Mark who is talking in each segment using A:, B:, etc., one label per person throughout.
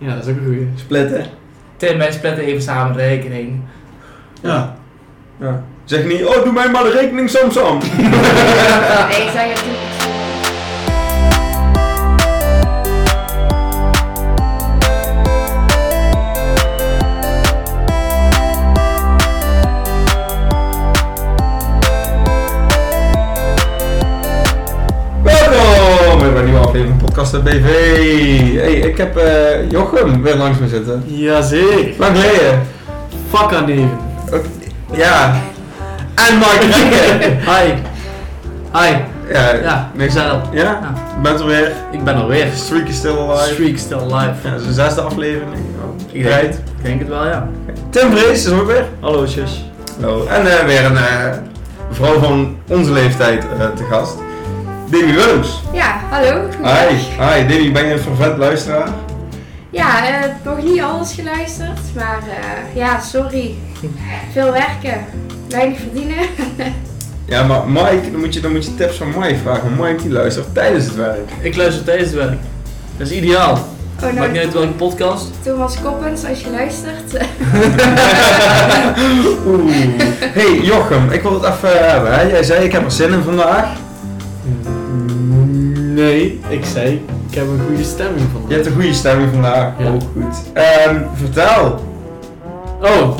A: Ja, dat is ook een goeie.
B: Splitten.
C: Tim mensen pletten even samen rekening.
A: Ja.
B: Ja. Zeg niet, oh doe mij maar de rekening Samsam.
D: Nee, ik zei het toen.
B: Welkom weer bij een nieuwe aflevering van Podcast BV. Hey, ik heb eh, Jochem weer langs me zitten.
A: Jazeker.
B: Lang geleden.
A: Fuck aan even.
B: Ook- Ja. En Mike Rijken.
A: Hi. Hi.
B: Ja,
A: Ja, we
B: niks
A: zijn al.
B: Ja? Je bent er weer.
A: Ik ben alweer.
B: Streak is still alive.
A: Streak still alive.
B: Ja, dat is de zesde aflevering. Oh,
C: Ik denk,
B: right.
C: het, ik denk het wel, ja.
B: Tim Vrees is ook weer.
A: Hallo, zus.
B: Hallo. En eh, weer een eh, vrouw van onze leeftijd eh, te gast. Demi Willems.
D: Ja, hallo.
B: Hi.
D: goedendag.
B: Hi Demi, ben je een fervent luisteraar?
D: Ja, eh, nog niet alles geluisterd, maar eh, ja, sorry. Veel werken, weinig verdienen.
B: Ja, maar Mike, dan moet je, dan moet je tips van Mike vragen. Mike die luistert tijdens het werk.
C: Ik luister tijdens het werk. Dat is ideaal.
D: Oh,
C: Maakt niet
D: nou,
C: uit welke podcast.
D: Thomas Koppens, als je luistert.
B: Oeh. Hey Jochem, ik wil het even hebben. Hè? Jij zei ik heb er zin in vandaag.
A: Mm, Nee, ik zei, ik heb een goede stemming van.
B: Je hebt een goede stemming vandaag.
A: Ja.
B: Ook goed. Ehm, vertel.
A: Oh.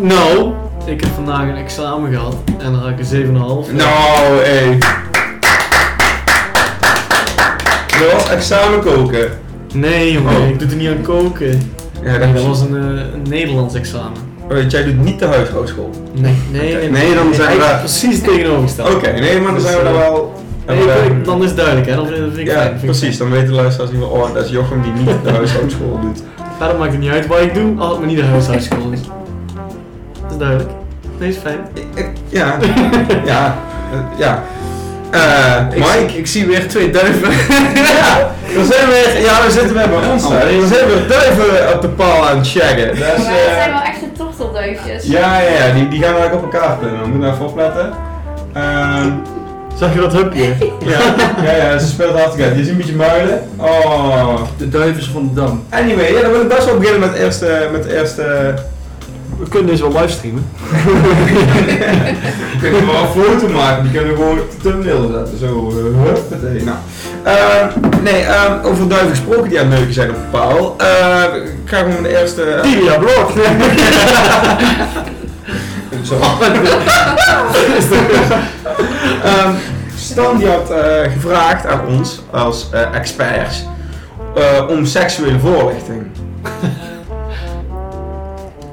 A: Nou, ik heb vandaag een examen gehad en daar had ik een 7,5.
B: Nou, hé. Dat was examen koken.
A: Nee, jongen,
B: Oh.
A: ik doe er niet aan koken.
B: Ja,
A: Nee, dat was een, eh, een Nederlands examen.
B: Weet jij doet niet de huishoudenschool. Oké,
A: Nee, nee,
B: Oké, nee, dan zijn we
A: eigenlijk
B: daar-
A: Precies tegenovergesteld.
B: nee, maar dan
A: Dus,
B: zijn we
A: eh,
B: daar wel. eh,
A: Nee, ik vind- dan is het duidelijk, hè? Dan vind vind ik
B: ja,
A: fijn, vind ik
B: precies. Dan weten de luisteraars niet wel, oh, dat is Jochem die niet de huishoudenschool doet.
A: Verder maakt het niet uit wat ik doe, als het maar niet de huishoudschool is. Dat is duidelijk. Nee, is fijn.
B: Ik- ik- Ja, ja, eh, ja. Eh, Mike?
C: ik zie weer twee duiven. Oh.
B: Ja, dan zijn we weer, ja, dan zitten we bij ons. hè. Dan zijn we duiven op de paal aan het checken. Dat is,
D: maar dat
B: eh,
D: zijn wel echte tortelduifjes.
B: Ja, ja, ja, die, die gaan we eigenlijk op elkaar spelen. We moeten we even opletten. Ehm,
A: Zag je dat hupje?
B: ja, ja, ja, ze speelt hartstikke uit. Je ziet een beetje muilen. Oh.
C: De duiven van de dam.
B: Anyway, ja, dan wil ik best wel beginnen met het eerste... Met het eerste...
A: We kunnen dus wel livestreamen.
B: We kunnen wel een foto maken, die kunnen we gewoon op de thumbnail zetten. Zo, eh, huppatee. Nou. Ehm, nee, ehm, over duiven gesproken die aan het neuken zijn op de paal. Eh, ik ga gewoon de eerste...
A: Tibia blok!
B: Zo. Ehm, Stan die had eh, gevraagd aan ons als eh, experts eh, om seksuele voorlichting.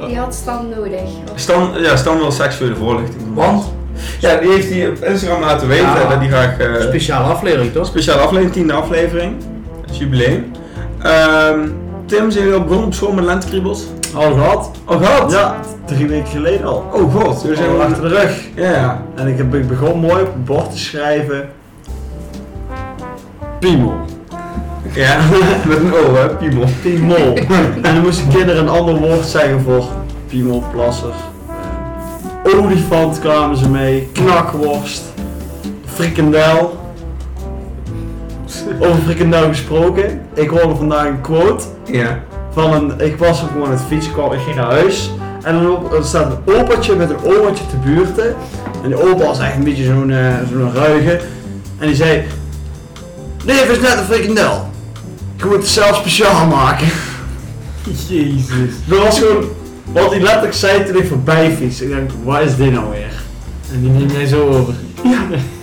D: Die had stand nodig.
B: Stan, ja, Stan wil seksuele voorlichting. doen.
C: Want?
B: Ja, die heeft hij op Instagram laten weten.
C: Ja.
B: Dat die graag eh,
C: Speciale aflevering, toch?
B: speciale aflevering, tiende aflevering. Het is jubileum. Ehm, Tim, zijn jullie al begonnen op school met lentekriebels?
E: Al gehad?
B: Oh god!
E: Ja, drie weken geleden al.
B: Oh god, jullie zijn
E: Al
B: wel
E: achter de rug.
B: Ja.
E: En ik heb ik begon mooi op het bord te schrijven. Piemel.
B: Ja, met een O hè, piemel.
E: Piemel. en dan moesten kinderen een ander woord zeggen voor piemelplasser. Eh, Olifant kwamen ze mee, knakworst, frikandel. Over frikandel gesproken, ik hoorde vandaag een quote
B: Ja.
E: van een, ik was er gewoon aan het fietsen, kwam, ik ging naar huis. En dan op- er staat een opaatje met een omaatje te buurten. En die opa was echt een beetje zo'n eh, zo'n ruige. En die zei, neef is net een frikandel. Je moet het zelf speciaal maken.
A: Jezus.
E: Dat was gewoon wat hij letterlijk zei toen ik voorbij fietste. Ik denk, waar is dit nou weer?
A: En die neem jij zo over.
B: Ja,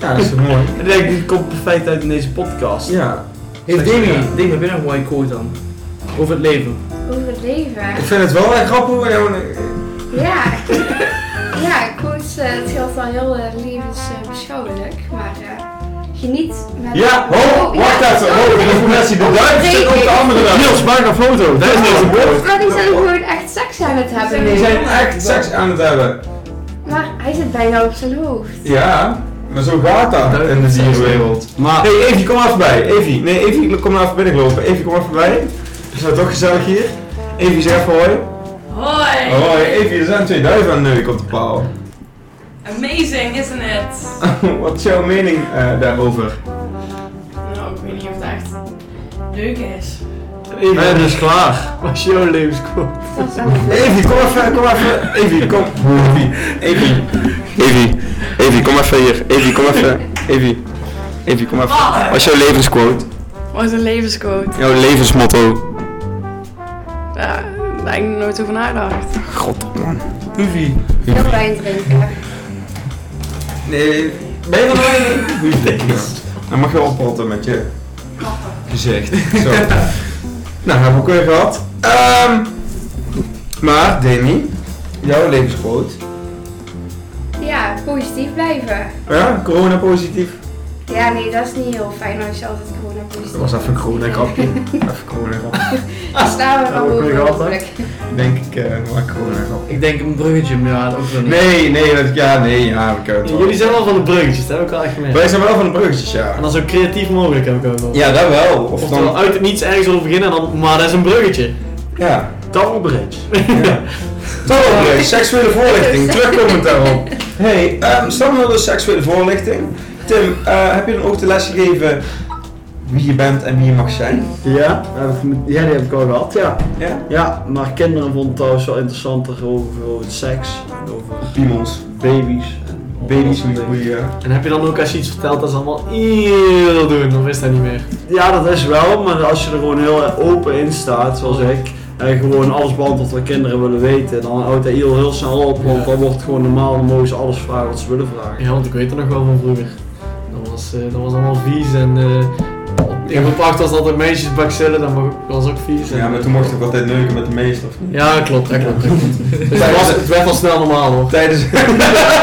B: dat is toch mooi.
E: En ik denk, dit komt perfect uit in deze podcast.
B: Ja.
C: Heeft Demi, Demi, heb je nog
A: nou
C: een mooie quote dan? Over het leven.
D: Over het leven.
B: Ik vind het wel echt grappig, maar gewoon, eh,
D: Ja, ja quotes, eh, het geldt wel heel eh, levensbeschouwelijk, maar eh, geniet met...
B: Ja, ho,
D: Oh,
B: wacht
D: ja.
B: even. Ho, de informatie, de duif zit op de andere duif.
A: Niels, maak een foto! Dat is
B: Ja.
A: niet een woord!
D: Maar die zijn gewoon echt seks aan het hebben
B: Die
D: nu.
B: zijn echt seks aan het hebben.
D: Maar hij zit bijna op zijn hoofd.
B: Ja, maar zo gaat dat
A: Duif
B: in de
A: is seks.
B: dierenwereld.
E: Maar
B: Hey Evie, kom even bij. Evie, nee Evie, kom maar even binnenlopen. Evie, kom even bij. Is dat toch gezellig hier? Evie, zeg even hoi.
F: Hoi!
B: Hoi Evie, er zijn twee duiven aan de neuk op de paal.
F: Amazing, isn't it?
B: Wat is jouw mening eh, daarover?
F: Nou, ik weet niet of het echt leuk is.
E: We
A: Even,
E: hebben dus klaar.
A: was jouw levensquote?
D: Dat is ook
B: Evie, kom even, kom even. Evie, kom. Evie, Evie, Evie, Evie, kom even hier. Evie, kom even. Evie, Evie, kom even. Wat is jouw levensquote?
F: Wat is een levensquote?
B: Jouw levensmotto?
F: Ja, daar heb ik nog nooit over nagedacht.
B: God, man. Evie.
D: Veel wijn drinken.
B: Nee, ben je nog Dan mag je oppotten met je gezicht. Zo. nou, hebben we ook weer gehad. Ehm, maar, Demi, jouw levensquote.
D: Ja, positief blijven.
B: Ja, corona positief.
D: Ja, nee, dat is niet heel fijn als je altijd corona positief
B: Dat was even een corona grapje. even corona grapje.
D: Dan staan we
E: Ja,
D: wel
E: dat kon ik
D: boven
E: altijd.
D: hopelijk.
B: Denk ik, eh maar corona grapje.
C: Ik denk een bruggetje, maar ja, dat ook wel niet.
B: Nee, nee, dat, ja, nee, ja, we kunnen het wel.
A: Jullie zijn wel van de bruggetjes, dat heb ik al echt gemerkt.
B: Wij zijn wel van de bruggetjes, ja.
A: En dan zo creatief mogelijk heb ik ook wel.
B: Ja, dat wel. Of
A: Oftewel
B: dan,
A: uit het niets ergens over beginnen en dan, maar dat is een bruggetje.
B: ja.
E: Double bridge.
B: Ja. Toch, eh, seksuele voorlichting, terugkomend daarop. Hey, ehm Sam wilde seksuele voorlichting. Tim, eh, heb je dan ook de les gegeven wie je bent en wie je mag zijn?
E: Ja, heb ik met- ja, die heb ik al gehad, ja.
B: Ja?
E: Ja, maar kinderen vonden het trouwens wel interessanter over, over seks en over
B: Piemels.
E: baby's. en
B: Baby's,
E: al dat soort
B: hoe
E: dingen.
B: je...
A: En heb je dan ook als je iets vertelt dat ze allemaal heel doen, dan is dat niet meer.
E: Ja, dat is wel, maar als je er gewoon heel open in staat, zoals ik, en gewoon alles beantwoordt wat kinderen willen weten, dan houdt dat heel, heel snel op, want
A: Ja.
E: dan wordt het gewoon normaal, dan mogen ze alles vragen wat ze willen vragen.
A: Ja, want ik weet er nog wel van vroeger. Dat was, eh, dat was allemaal vies en eh in mijn pacht was altijd meisjes bakcellen, dat mag- was ook vies. en-
B: Ja, maar toen mocht ik ook altijd neuken met de meester, of niet?
A: Ja, klopt, dat klopt. dat klopt. Dus het, was, het werd al snel normaal hoor.
B: Tijdens...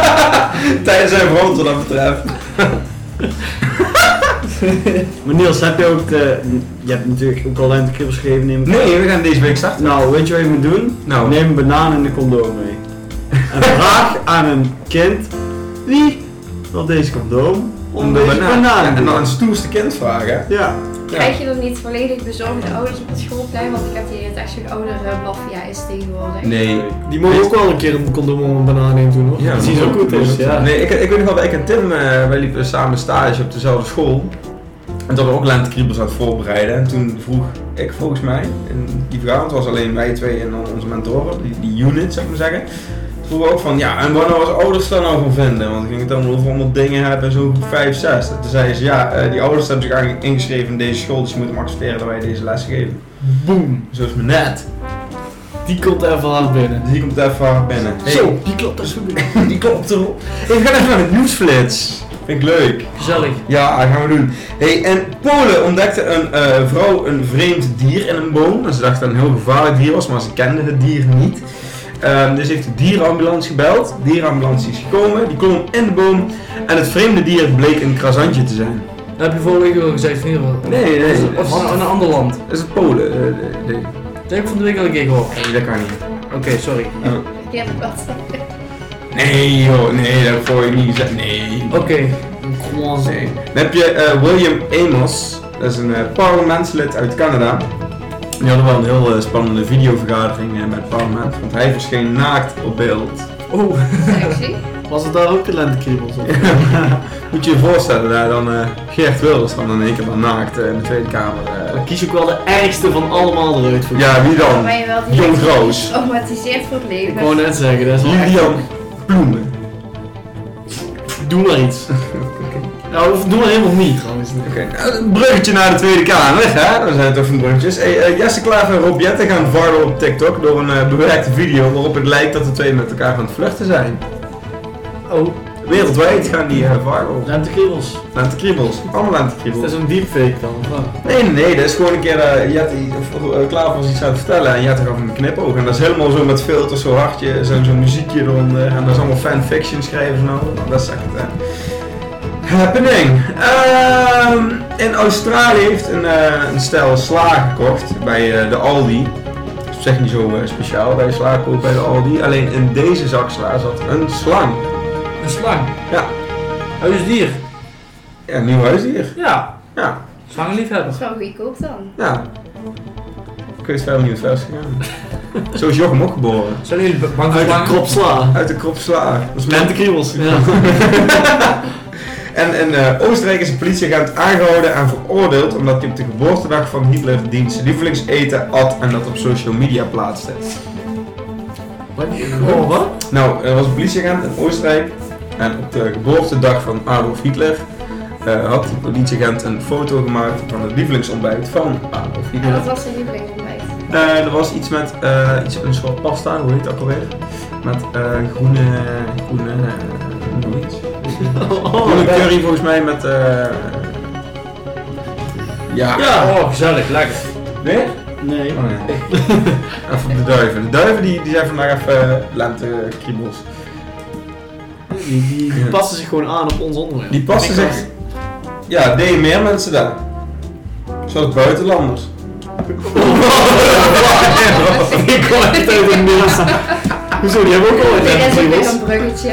B: Tijdens zijn verand wat dat betreft.
E: Maar Niels, heb je ook de, je hebt natuurlijk ook al een keer geschreven, neem ik aan.
B: Nee, we gaan deze week starten.
E: Nou, weet je wat je moet doen?
B: Nou.
E: Neem een banaan en een condoom mee. En vraag aan een kind, wie wil deze condoom om
B: Om de
E: deze
B: banaan.
E: banaan?
B: En dan het stoerste kind vragen.
E: Ja.
D: Krijg je dan niet volledig bezorgde ouders op het schoolplein? Want ik heb hier het echt zo'n oudere blaffia is tegenwoordig.
B: Nee,
A: Die mogen ook wel een keer een condoom om een banaan heen doen hoor.
B: Ja,
A: dat is ook goed is. Ja.
B: Nee, ik, ik weet nog wel, wij en Tim, eh, wij liepen samen stage op dezelfde school. En toen hadden we ook lentekriebels aan het voorbereiden. En toen vroeg ik volgens mij, en die vergadering het was alleen wij twee en dan onze mentoren, die, die unit zou ik maar zeggen. Toen vroegen we ook van, ja, en wat nou als ouders daar nou van vinden? Want ik ging het dan over allemaal dingen hebben, zo 5, 6. En toen zeiden ze, ja, eh, die ouders hebben zich eigenlijk ingeschreven in deze school, dus je moet hem accepteren dat wij deze les geven.
A: Boom.
B: Zo is me net.
A: Die komt even hard binnen.
B: Dus die komt even binnen. Hey,
A: Zo, die klopt er zo binnen.
B: die klopt erop. Hey, we gaan even naar het nieuwsflits. Vind ik leuk.
C: Gezellig.
B: Ja, dat gaan we doen. Hey, en Polen ontdekte een eh, vrouw een vreemd dier in een boom. En ze dacht dat het een heel gevaarlijk dier was, maar ze kende het dier niet. Ehm, dus heeft de dierenambulance gebeld. De dierenambulance is gekomen, die klom in de boom. En het vreemde dier bleek een krasantje te zijn.
C: Dat heb je vorige week al gezegd van Nederland.
B: Nee, nee,
C: Of of
B: dat
C: van een ander land.
B: is het Polen. eh, eh, nee,
C: Dat heb ik van de week al een keer gehoord.
B: nee, dat kan niet.
C: Oké, sorry.
D: Die heb ik wat.
B: Nee joh, nee, dat hoor je niet gezegd. Nee.
C: Oké.
B: Nee. Dan heb je eh, William Amos, dat is een eh, parlementslid uit Canada. Die hadden wel een heel eh, spannende videovergadering eh, met het parlement, want hij verscheen naakt op beeld.
C: Oeh.
D: Sexy.
A: Was het daar ook de lentekriebels op?
B: Moet je je voorstellen, daar dan eh, Geert Wilders dan in één keer dan naakt eh, in de Tweede Kamer. eh.
A: Dan kies ik wel de ergste van allemaal eruit voor.
B: ja, wie
D: Dan
B: dan?
D: ben je wel
B: Jong
D: direct
B: Roos.
D: getraumatiseerd voor het
A: Ik
D: leven.
A: wou net zeggen, dat is wel echt-
B: Julian Ploemen.
A: Doe maar iets. Nou, of doe maar helemaal niet trouwens.
B: Oké, nou, een bruggetje naar de Tweede Kamer, hè? Dan zijn het toch van bruggetjes. Hey, eh, Jesse Klaver en Rob Jetten gaan viral op TikTok door een eh, bewerkte video waarop het lijkt dat de twee met elkaar aan het flirten zijn.
A: Oh,
B: Wereldwijd gaan die eh, viral.
E: Lentekriebels.
B: Lentekriebels, allemaal
A: is dat
B: lentekriebels.
A: zo'n deepfake dan? of wat?
B: Nee, nee, nee, dat is gewoon een keer, eh Jette, of, eh, Klaver was iets aan het vertellen en Jette gaf hem een knipoog. En dat is helemaal zo met filters, zo hartje, zo'n zo'n muziekje eronder. En dat is allemaal fanfiction schrijven en al. Nou, dat is echt, hè. Happening. Ehm, in Australië heeft een, eh een stel sla gekocht bij eh, de Aldi. Dat is op zich niet zo eh, speciaal bij sla kopen bij de Aldi. Alleen in deze zak sla zat een slang.
C: Een slang.
B: Ja,
C: Huisdier.
B: ja een nieuw huisdier.
C: Ja.
B: Ja,
D: Dat
C: Slangenliefhebber.
D: is wel goedkoop dan.
B: Ja. Ik weet verder niet hoe het verder is gegaan. Zo is Jochem ook geboren.
C: Zijn jullie b- bang voor
A: Uit de
C: slangen?
A: krop sla.
B: Uit de krop sla. Dat is
A: Lentekriebels. Ja.
B: En een eh, Oostenrijkse politieagent aangehouden en veroordeeld omdat hij op de geboortedag van Hitler diens lievelingseten at en dat op social media plaatste.
A: Wat? Oh, wat?
B: Nou, er was een politieagent in Oostenrijk en op de geboortedag van Adolf Hitler eh, had de politieagent een foto gemaakt van het lievelingsontbijt van Adolf
D: En
B: Hitler.
D: dat was zijn lievelingsontbijt.
B: Eh, er was iets met eh, iets, een soort pasta, hoe heet dat alweer? Met eh, groene, groene, eh, noem iets. Groene curry volgens mij met, eh. ja.
C: Ja, oh, gezellig, lekker.
B: Nee?
E: Nee.
B: Oh, nee. even de duiven. De duiven die, die zijn vandaag even lente kriebels.
A: Die, die, die passen zich gewoon aan op ons onderwerp.
B: Die passen
A: Ik
B: zich. Ja, deden meer mensen daar. Zoals buitenlanders.
A: Ik kwam echt uit een mist. Hoezo, die hebben ook al
D: Nee, dat is ook weer
A: een
D: een bruggetje.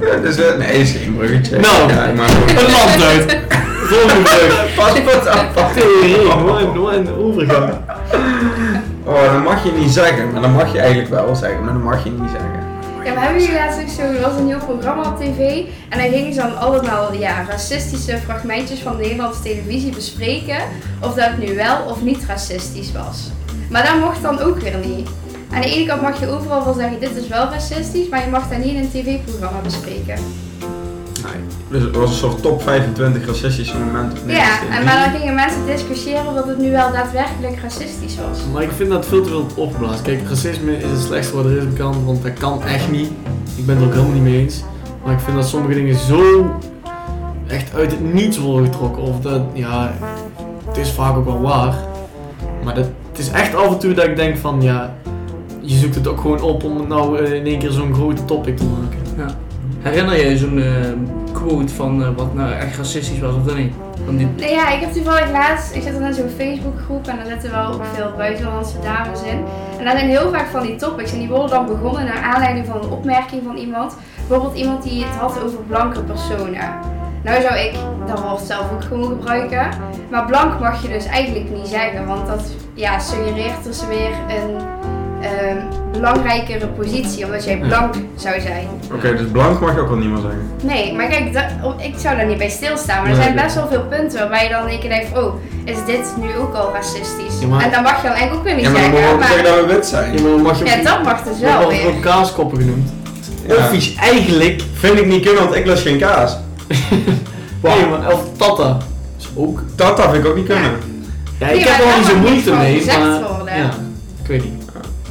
B: Ja, dus, eh, nee, is geen bruggetje.
A: Nou.
B: ja, maar
A: Een land uit. Volgende brug.
B: pas wat aan. pas-
A: Theorie, mooi, mooi en overgang.
B: Oh, dat mag je niet zeggen. Maar dat mag je eigenlijk wel zeggen, maar dat mag je niet zeggen.
D: Ja, we hebben jullie laatst ook zo, er was een nieuw programma op tv en dan gingen ze dan allemaal ja, racistische fragmentjes van de Nederlandse televisie bespreken of dat nu wel of niet racistisch was. Maar dat mocht dan ook weer niet. Aan de ene kant mag je overal wel zeggen dit is wel racistisch, maar je mag dat niet in een tv-programma bespreken.
B: Dus het was een soort top 25 racistische momenten. op Nederlands
D: ja, en,
B: televisie.
D: maar dan gingen mensen discussiëren of dat het nu wel daadwerkelijk racistisch was.
A: Maar ik vind dat veel te veel opgeblazen. Kijk, racisme is het slechtste wat er is kan, want dat kan echt niet. Ik ben het ook helemaal niet mee eens. Maar ik vind dat sommige dingen zo echt uit het niets worden getrokken. Of dat, ja, het is vaak ook wel waar. Maar dat, het is echt af en toe dat ik denk van, ja, je zoekt het ook gewoon op om het nou eh, in één keer zo'n groot topic te maken.
C: Herinner je je zo'n eh, quote van eh, wat nou echt racistisch was of dat niet? Van die...
D: Nee, ja, ik heb toevallig laatst, ik zit dan in zo'n Facebookgroep en daar zitten wel ook veel buitenlandse dames in. En daar zijn heel vaak van die topics en die worden dan begonnen naar aanleiding van een opmerking van iemand. Bijvoorbeeld iemand die het had over blanke personen. Nou zou ik dat woord zelf ook gewoon gebruiken. Maar blank mag je dus eigenlijk niet zeggen, want dat ja, suggereert dus weer een ehm, belangrijkere positie, omdat jij blank zou zijn.
B: Oké, dus blank mag je ook wel niet meer zeggen.
D: Nee, maar kijk, dat- oh, ik zou daar niet bij stilstaan. Maar er
A: Nee,
D: zijn
A: nee.
D: best wel veel punten waarbij je dan in één keer denkt: oh, is dit nu ook al racistisch?
A: Ja, maar-
D: En dan mag je dan eigenlijk ook weer niet
B: Ja, maar dan mogen we
D: zeggen.
B: ook
D: Maar...
B: zeggen dat we wit zijn.
A: Ja, maar mag je
D: Ja, dat mag dus wel
A: wordt
D: weer.
A: ook kaaskoppen genoemd.
B: Ja.
A: Offies, eigenlijk.
B: Vind ik niet kunnen, want ik las geen kaas.
A: Nee, maar, of tata. Is ook
B: Dat dat vind ik ook niet kunnen.
A: Ja,
D: Nee,
A: ik heb
D: maar
A: er
D: daar
A: al niet zo
D: mag
A: moeite
D: niks van
A: mee,
D: gezegd
A: maar...
D: worden.
A: Ja, ik weet niet.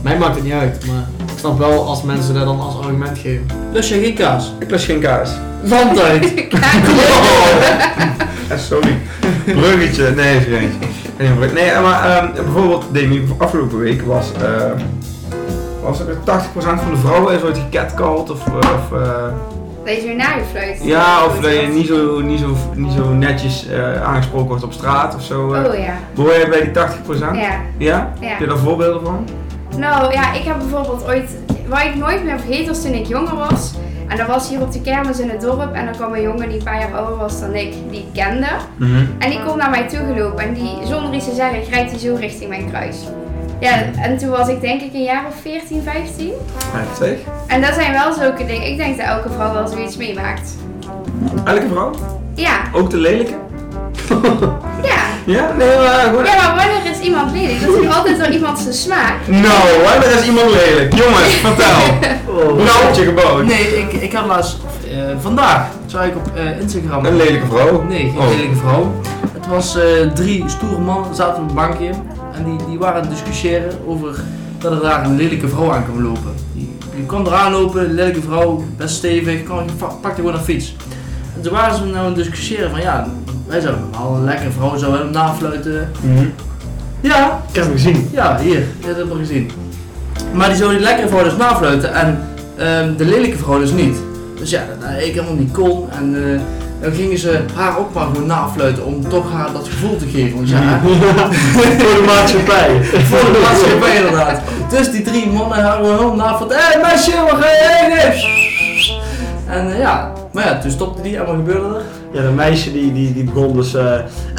A: Mij maakt het niet uit, maar ik snap wel als mensen dat dan als argument geven.
C: Dus je geen kaas.
B: Ik las geen kaas.
A: Van tijd!
B: Eh, sorry. Bruggetje. Nee, is geen. geen brug- Nee, maar ehm, bijvoorbeeld, Demi, afgelopen week was, ehm, was er 80% van de vrouwen is ooit gecatcalled of, eh, of eh,
D: Dat je weer naar je fluit.
B: ja, of dat je niet zo, niet zo, niet zo netjes eh, aangesproken wordt op straat of zo. eh.
D: Oh ja,
B: Hoor je bij die 80%?
D: ja,
B: Ja?
D: ja.
B: Heb je daar voorbeelden van?
D: Nou ja, ik heb bijvoorbeeld ooit, wat ik nooit meer vergeten was toen ik jonger was. En dat was hier op de kermis in het dorp. En dan kwam een jongen die een paar jaar ouder was dan ik, die ik kende.
B: Mhm.
D: En die komt naar mij toe gelopen en die, zonder iets te zeggen, grijpt hij zo richting mijn kruis. Ja, en toen was ik denk ik een jaar of 14, 15.
B: Heftig.
D: En dat zijn wel zulke dingen. Ik denk dat elke vrouw wel zoiets meemaakt.
B: Elke vrouw?
D: Ja,
B: Ook de lelijke?
D: ja.
B: Ja? Nee, maar gewoon...
D: Ja, maar wanneer is iemand lelijk? Dat is toch altijd wel iemand zijn smaak.
B: Nou, wanneer is iemand lelijk? Jongens, vertel.
D: Oh.
B: Hoe oud je gebouwd?
C: Nee, ik, ik had laatst, eh, vandaag, zag ik op eh, Instagram.
B: Een lelijke vrouw?
C: Nee, geen
B: Oh.
C: lelijke vrouw. Het was eh, drie stoere mannen, zaten op een bankje en die, die waren aan het discussiëren over dat er daar een lelijke vrouw aan kwam lopen. Die, die kwam eraan lopen, een lelijke vrouw, best stevig, kwam, pa- pakte gewoon een fiets. En toen waren ze nou aan het discussiëren van ja, wij zouden wel een lekkere vrouw zouden hem nafluiten.
B: Mhm.
C: Ja,
A: Ik heb hem gezien.
C: ja, hier, dit hebben we gezien. Maar die zou die lekkere vrouw dus nafluiten en ehm, de lelijke vrouw dus niet. Dus ja, dat, eh, ik helemaal niet kon en eh, dan gingen ze haar ook maar gewoon nafluiten om toch haar dat gevoel te geven. Want ja,
A: Voor de maatschappij.
C: voor de maatschappij inderdaad. Dus die drie mannen haar gewoon helemaal nafluiten. Hé hey, meisje, wat ga je heen? Hey. En eh, ja, maar ja, toen stopte die en wat gebeurde er?
E: Ja, dat meisje die, die, die begon dus... eh,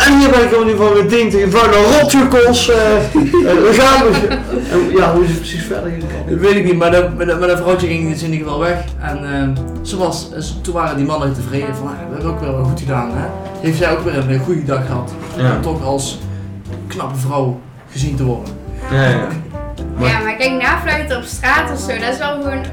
E: en hier ben ik gewoon niet van mijn ding tegen vuile rotjoekels. eh, eh, we gaan... we- en, ja, ja, hoe is het precies verder gegaan?
C: Dat weet ik niet, maar dat, maar dat, maar dat vrouwtje ging dus in ieder geval weg. En eh, ze was, ze- toen waren die mannen tevreden van, ah, we hebben ook wel wat goed gedaan. Hè? Heeft zij ook weer een, een goede dag gehad.
B: Ja.
C: Om toch als knappe vrouw gezien te worden.
B: Ja, ja. Maar-
D: Ja, maar kijk, nafluiten op straat of zo, dat is wel gewoon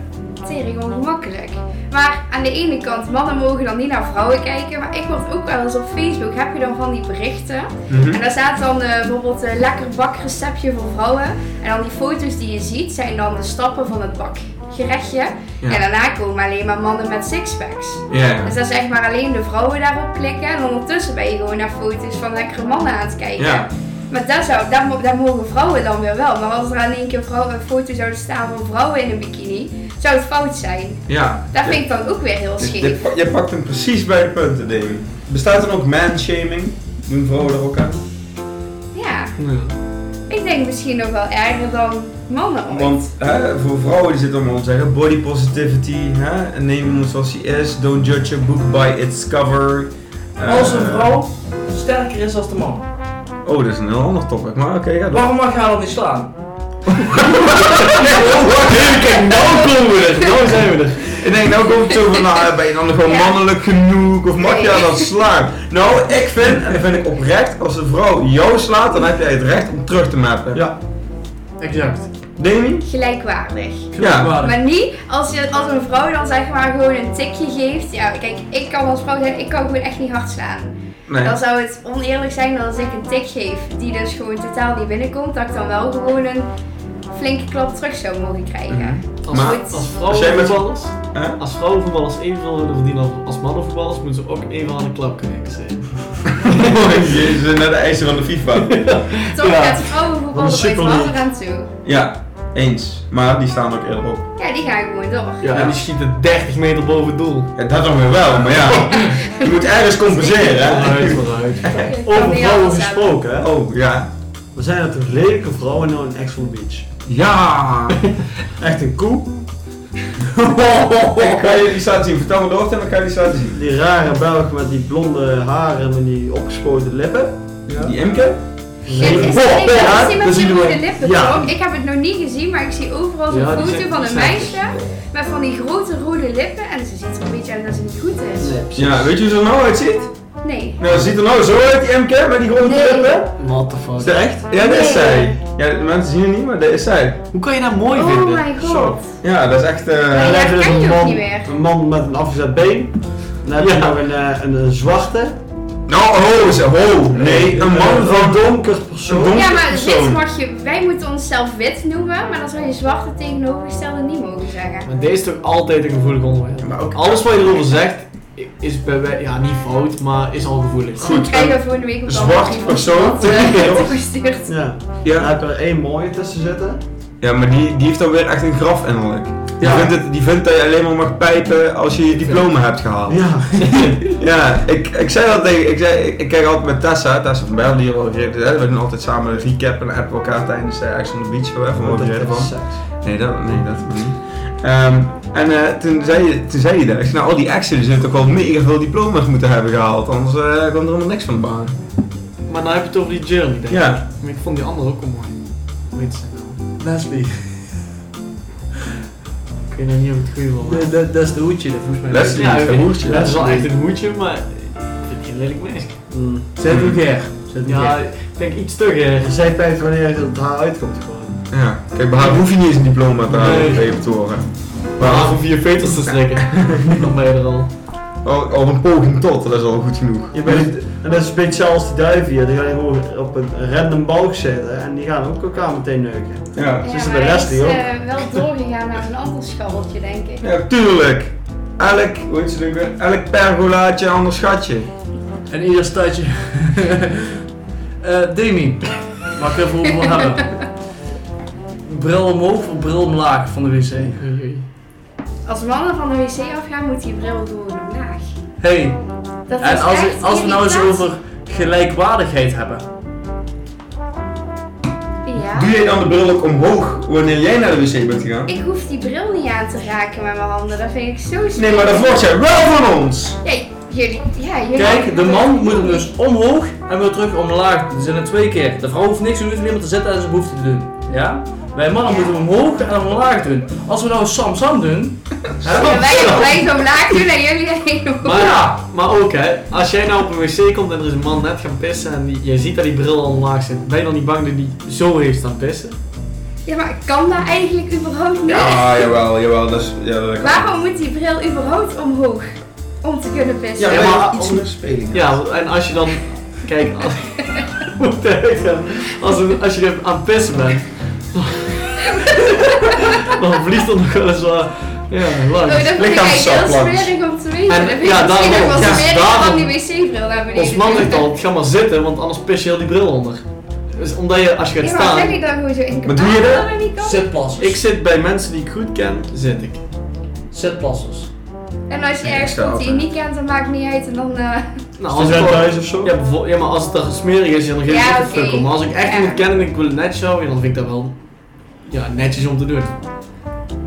D: tering ongemakkelijk. Maar aan de ene kant, mannen mogen dan niet naar vrouwen kijken, maar ik word ook wel eens op Facebook, heb je dan van die berichten.
B: Mhm.
D: En daar staat dan eh, bijvoorbeeld een lekker bakreceptje voor vrouwen. En dan die foto's die je ziet, zijn dan de stappen van het bakgerechtje.
B: Ja.
D: En daarna komen alleen maar mannen met sixpacks.
B: Ja, ja.
D: Dus dat is echt maar alleen de vrouwen daarop klikken. En ondertussen ben je gewoon naar foto's van lekkere mannen aan het kijken.
B: Ja.
D: Maar daar, zou, daar, mo- daar mogen vrouwen dan weer wel. Maar als er aan één keer vrouwen, een foto zouden staan van vrouwen in een bikini, zou het fout zijn.
B: ja.
D: Dat vind ik dan ook weer heel
B: Dus Je,
D: scheef.
B: pa- je pakt hem precies bij de punten, denk ik. Bestaat er ook manshaming? Doen vrouwen er ook aan?
D: Ja,
A: Ja.
D: ik denk misschien nog wel erger dan mannen ooit.
B: Want hè, voor vrouwen die zitten allemaal te zeggen, body positivity, hè? en neem iemand zoals hij is, don't judge a book by its cover. Eh,
C: Als een vrouw sterker is dan de man.
B: Oh, dat is een heel ander topic, maar oké, ja. Dat...
C: Waarom mag je haar dan niet slaan?
A: Kijk, nou komen we er. Nou zijn we er.
B: Ik denk, nou komt het over, nou ben je dan gewoon
D: Ja.
B: mannelijk genoeg, of mag
D: Nee.
B: jij dat slaan? Nou, ik vind, en dat vind ik oprecht, als een vrouw jou slaat, dan heb jij het recht om terug te mappen.
E: Ja.
C: Exact.
B: Denk je niet?
D: Gelijkwaardig.
B: Ja.
C: Waardig.
D: Maar niet als, je, als een vrouw dan zeg maar gewoon een tikje geeft. Ja, kijk, ik kan als vrouw zijn, ik kan gewoon echt niet hard slaan.
B: Nee.
D: Dan zou het oneerlijk zijn dat als ik een tik geef die dus gewoon totaal niet binnenkomt, dat ik dan wel gewoon een flinke klap terug zou mogen krijgen.
A: Als,
B: Mhm. Maar-
A: als
B: Als jij met-
A: vrouwenvoetballers,
B: Hè?
A: als vrouwenvoetballers evenveel willen verdienen als- als mannenvoetballers, moeten ze ook even aan de klap kunnen krijgen.
B: Jezus, naar de eisen van de FIFA.
D: Toch
A: Ja.
D: gaat vrouwenvoetbal er
A: Wat een
D: ooit wel
A: superleague.
D: weer aan toe.
B: Ja, eens. Maar die staan ook eerder op.
D: Ja, die gaan gewoon door.
A: Ja, en die schieten 30 meter boven het doel.
B: Ja, dat dan weer wel, maar ja. Je moet ergens compenseren,
A: Vooruit,
B: hè?
A: vooruit.
D: Ik kan
E: Over vrouwen
D: niet alles hebben.
E: gesproken, hè?
B: Oh, ja.
E: We zijn er toch lelijke vrouwen nou in Axel Beach.
B: Ja!
E: Echt een koe.
B: Ik ga jullie iets laten zien. Vertel me door en ik ga jullie iets laten zien.
E: Die rare Belg met die blonde haren en die opgespoten lippen.
B: Die Imke?
D: Kijk, is dat niet-
E: Ja,
D: is die met
E: dat
D: die
E: zien we.
D: rode lippen
E: Ja.
D: toch? Ik heb het nog niet gezien, maar ik zie overal zo'n
A: Ja, die
D: foto
A: zijn-
D: van
A: die
D: een
A: zijn-
D: meisje met van die grote rode lippen en ze ziet er een beetje uit dat ze niet goed is.
E: Nee, precies.
B: Ja, weet je hoe ze er nou uitziet?
D: Nee.
B: Nou, ze ziet er nou zo uit, die Imke, met die grote
D: Nee.
B: lippen.
A: What the
B: Is dat
A: fuck.
B: echt? Ja, dat is zij. Ja, de mensen zien het niet, maar dat is zij.
A: Hoe kan je dat mooi
D: Oh
A: vinden?
D: my god.
B: Ja, dat is echt...
D: Ja,
B: eh
E: dan heb je
D: dat
E: dus
D: ken
E: een
D: je ook
E: man,
D: niet meer.
E: een man met een afgezet been. Dan heb je
A: Ja.
E: nog een, eh, een, een zwarte.
B: Nou, ho, ze, ho. Nee, een man
E: van
B: van...
E: donker persoon.
B: Een
D: Ja, maar wit
B: persoon.
D: mag je, wij moeten onszelf wit noemen, maar dat zou je zwarte tegenovergestelde niet mogen zeggen.
A: Maar deze is toch altijd een gevoelig onderwerp.
B: Maar ook...
A: Alles wat je erover zegt is bij wij, ja niet fout, maar is al gevoelig.
B: Goed,
D: Ik krijg
B: een
D: er volgende week op
B: zwart persoon.
D: eh, toegestuurd.
E: Ja. Dan
B: Ja.
E: heb je er één mooie tussen zitten.
B: Ja, maar die, die heeft dan weer echt een graf innerlijk. Die,
E: Ja.
B: vindt het, die vindt dat je alleen maar mag pijpen als je je diploma hebt gehaald.
E: Ja.
B: Ja, ik, ik zei dat tegen, ik, zei, ik, ik kijk altijd met Tessa, Tessa van Bel, die hier wel gereden hè. We doen altijd samen een recap en appen elkaar tijdens uh, Action on the Beach, waar
E: Want
B: we
E: Oh, dat
B: gereden
E: is
B: van.
E: seks.
B: Nee, dat, nee, dat doen we niet. Ehm, en eh, toen, zei je, toen zei je dat, ik zei, nou al die Action die zullen toch wel mega veel diploma's moeten hebben gehaald, anders eh, kwam er helemaal niks van de baan.
A: Maar dan heb je het over die journey. Denk ik.
B: Ja,
A: Maar ik vond die andere ook wel mooi. Hoe heet ze nou?
C: Leslie.
A: Ik weet nou niet of ik het goed wil. maar-
C: Dat- Dat dat is de hoedje, dat volgens mij.
B: Leslie
A: Ja,
B: is
A: oké.
B: een hoertje.
A: Dat is wel echt een hoedje, maar ik vind die een lelijk meisje.
E: Mm.
C: Zet hem neer. Zet hem
A: Ja,
C: neer.
A: ik denk iets te hè.
E: En zij pijpt wanneer het haar uitkomt gewoon.
B: Ja, kijk, bij haar hoef je niet eens een diploma te halen om
A: Nee.
B: tegen te horen. Maar
A: Maar om vier veters te strikken. Dan ben je er al.
B: Al, al een poging tot, dat is al goed genoeg.
E: Je bent, en dat is een beetje zoals die duiven hier. Die gaan gewoon op een random balk zitten en die gaan ook elkaar meteen neuken.
B: Ja.
E: Ze is er
D: Ja,
E: bij
D: maar
E: Leslie ook.
D: hij is eh, wel doorgegaan naar een ander scharreltje, denk ik.
B: Ja, tuurlijk. Elk, hoe heet ze ook weer? Elk pergolaatje, ander schatje.
C: En ieder stadje. Eh Demi, mag ik even over hebben? Bril omhoog of bril omlaag van de wc?
A: Oei, oei.
D: Als mannen van de wc afgaan, moet die bril door omlaag.
C: Hey,
D: Dat
C: en
D: is
C: als,
D: echt
C: als we nou eens
D: irritant.
C: over gelijkwaardigheid hebben.
D: Ja.
B: Doe jij dan de bril ook omhoog wanneer jij naar de wc bent gegaan?
D: Ik hoef die bril niet aan te raken met mijn handen, dat vind ik zo stom.
B: Nee, maar dat wordt jij wel van ons!
D: Ja, jullie... Ja, jullie...
C: Kijk, de man moet hem dus omhoog en weer terug omlaag. Er zijn er twee keer. De vrouw hoeft niks te doen, hoeft alleen maar te zetten en ze hoeft te doen. Ja? Wij mannen moeten we omhoog en omlaag doen. Als we nou Sam Sam doen. hè?
D: Ja, wij, wij zo laag doen en jullie helemaal.
A: Maar,
C: Ja.
A: maar ook hè, als jij nou op een wc komt en er is een man net gaan pissen en die, je ziet dat die bril al omlaag zit, ben je dan niet bang dat die zo heeft aan pissen?
D: Ja, maar kan dat eigenlijk überhaupt niet?
B: Ja, jawel, jawel. Dat is, ja, dat kan.
D: Waarom moet die bril überhaupt omhoog? Om te kunnen pissen.
B: Ja,
A: Ja, maar
B: maar iets
A: om-
B: meer speling.
A: Ja, en als je dan, kijk, als, Hoe de heck dan? als, een- als je er aan het pissen bent, dan, dan vliegt er nog wel eens wat, ja,
D: Oh, dat
A: langs.
D: vind ik
B: Lichaam
D: eigenlijk heel
B: saplangs.
D: smerig om te weten.
A: En-
D: dat vind ik misschien
A: ja, daarom.
D: nog wel
A: Ja,
D: smeriger dan
A: daarom.
D: die wc-bril naar beneden.
A: Ons man zegt al, ga maar zitten, want anders pis je heel die bril onder. Dus omdat je, als je
D: Ja,
A: gaat
D: maar zeg
A: staan,
D: ik dan gewoon zo in
B: Maar doe je dat?
D: niet kan?
C: Zitplassers.
A: ik zit bij mensen die ik goed ken, zit ik.
C: Zitplassers.
D: En als je
B: Nee,
D: ergens
B: ik sta
D: komt die je
B: altijd.
D: niet kent, dan maakt het niet uit. En dan, eh,
A: Nou,
E: Als
A: ik
E: je
A: wel-
E: thuis of zo?
A: Ja, bijvoorbeeld- ja, maar als het er smerig is, ja, dan geef ik
D: Ja,
A: het
D: oké.
A: een fuck om. Maar als ik echt
D: Ja.
A: iemand ken en ik wil het netjes houden, ja, dan vind ik dat wel ja, netjes om te doen.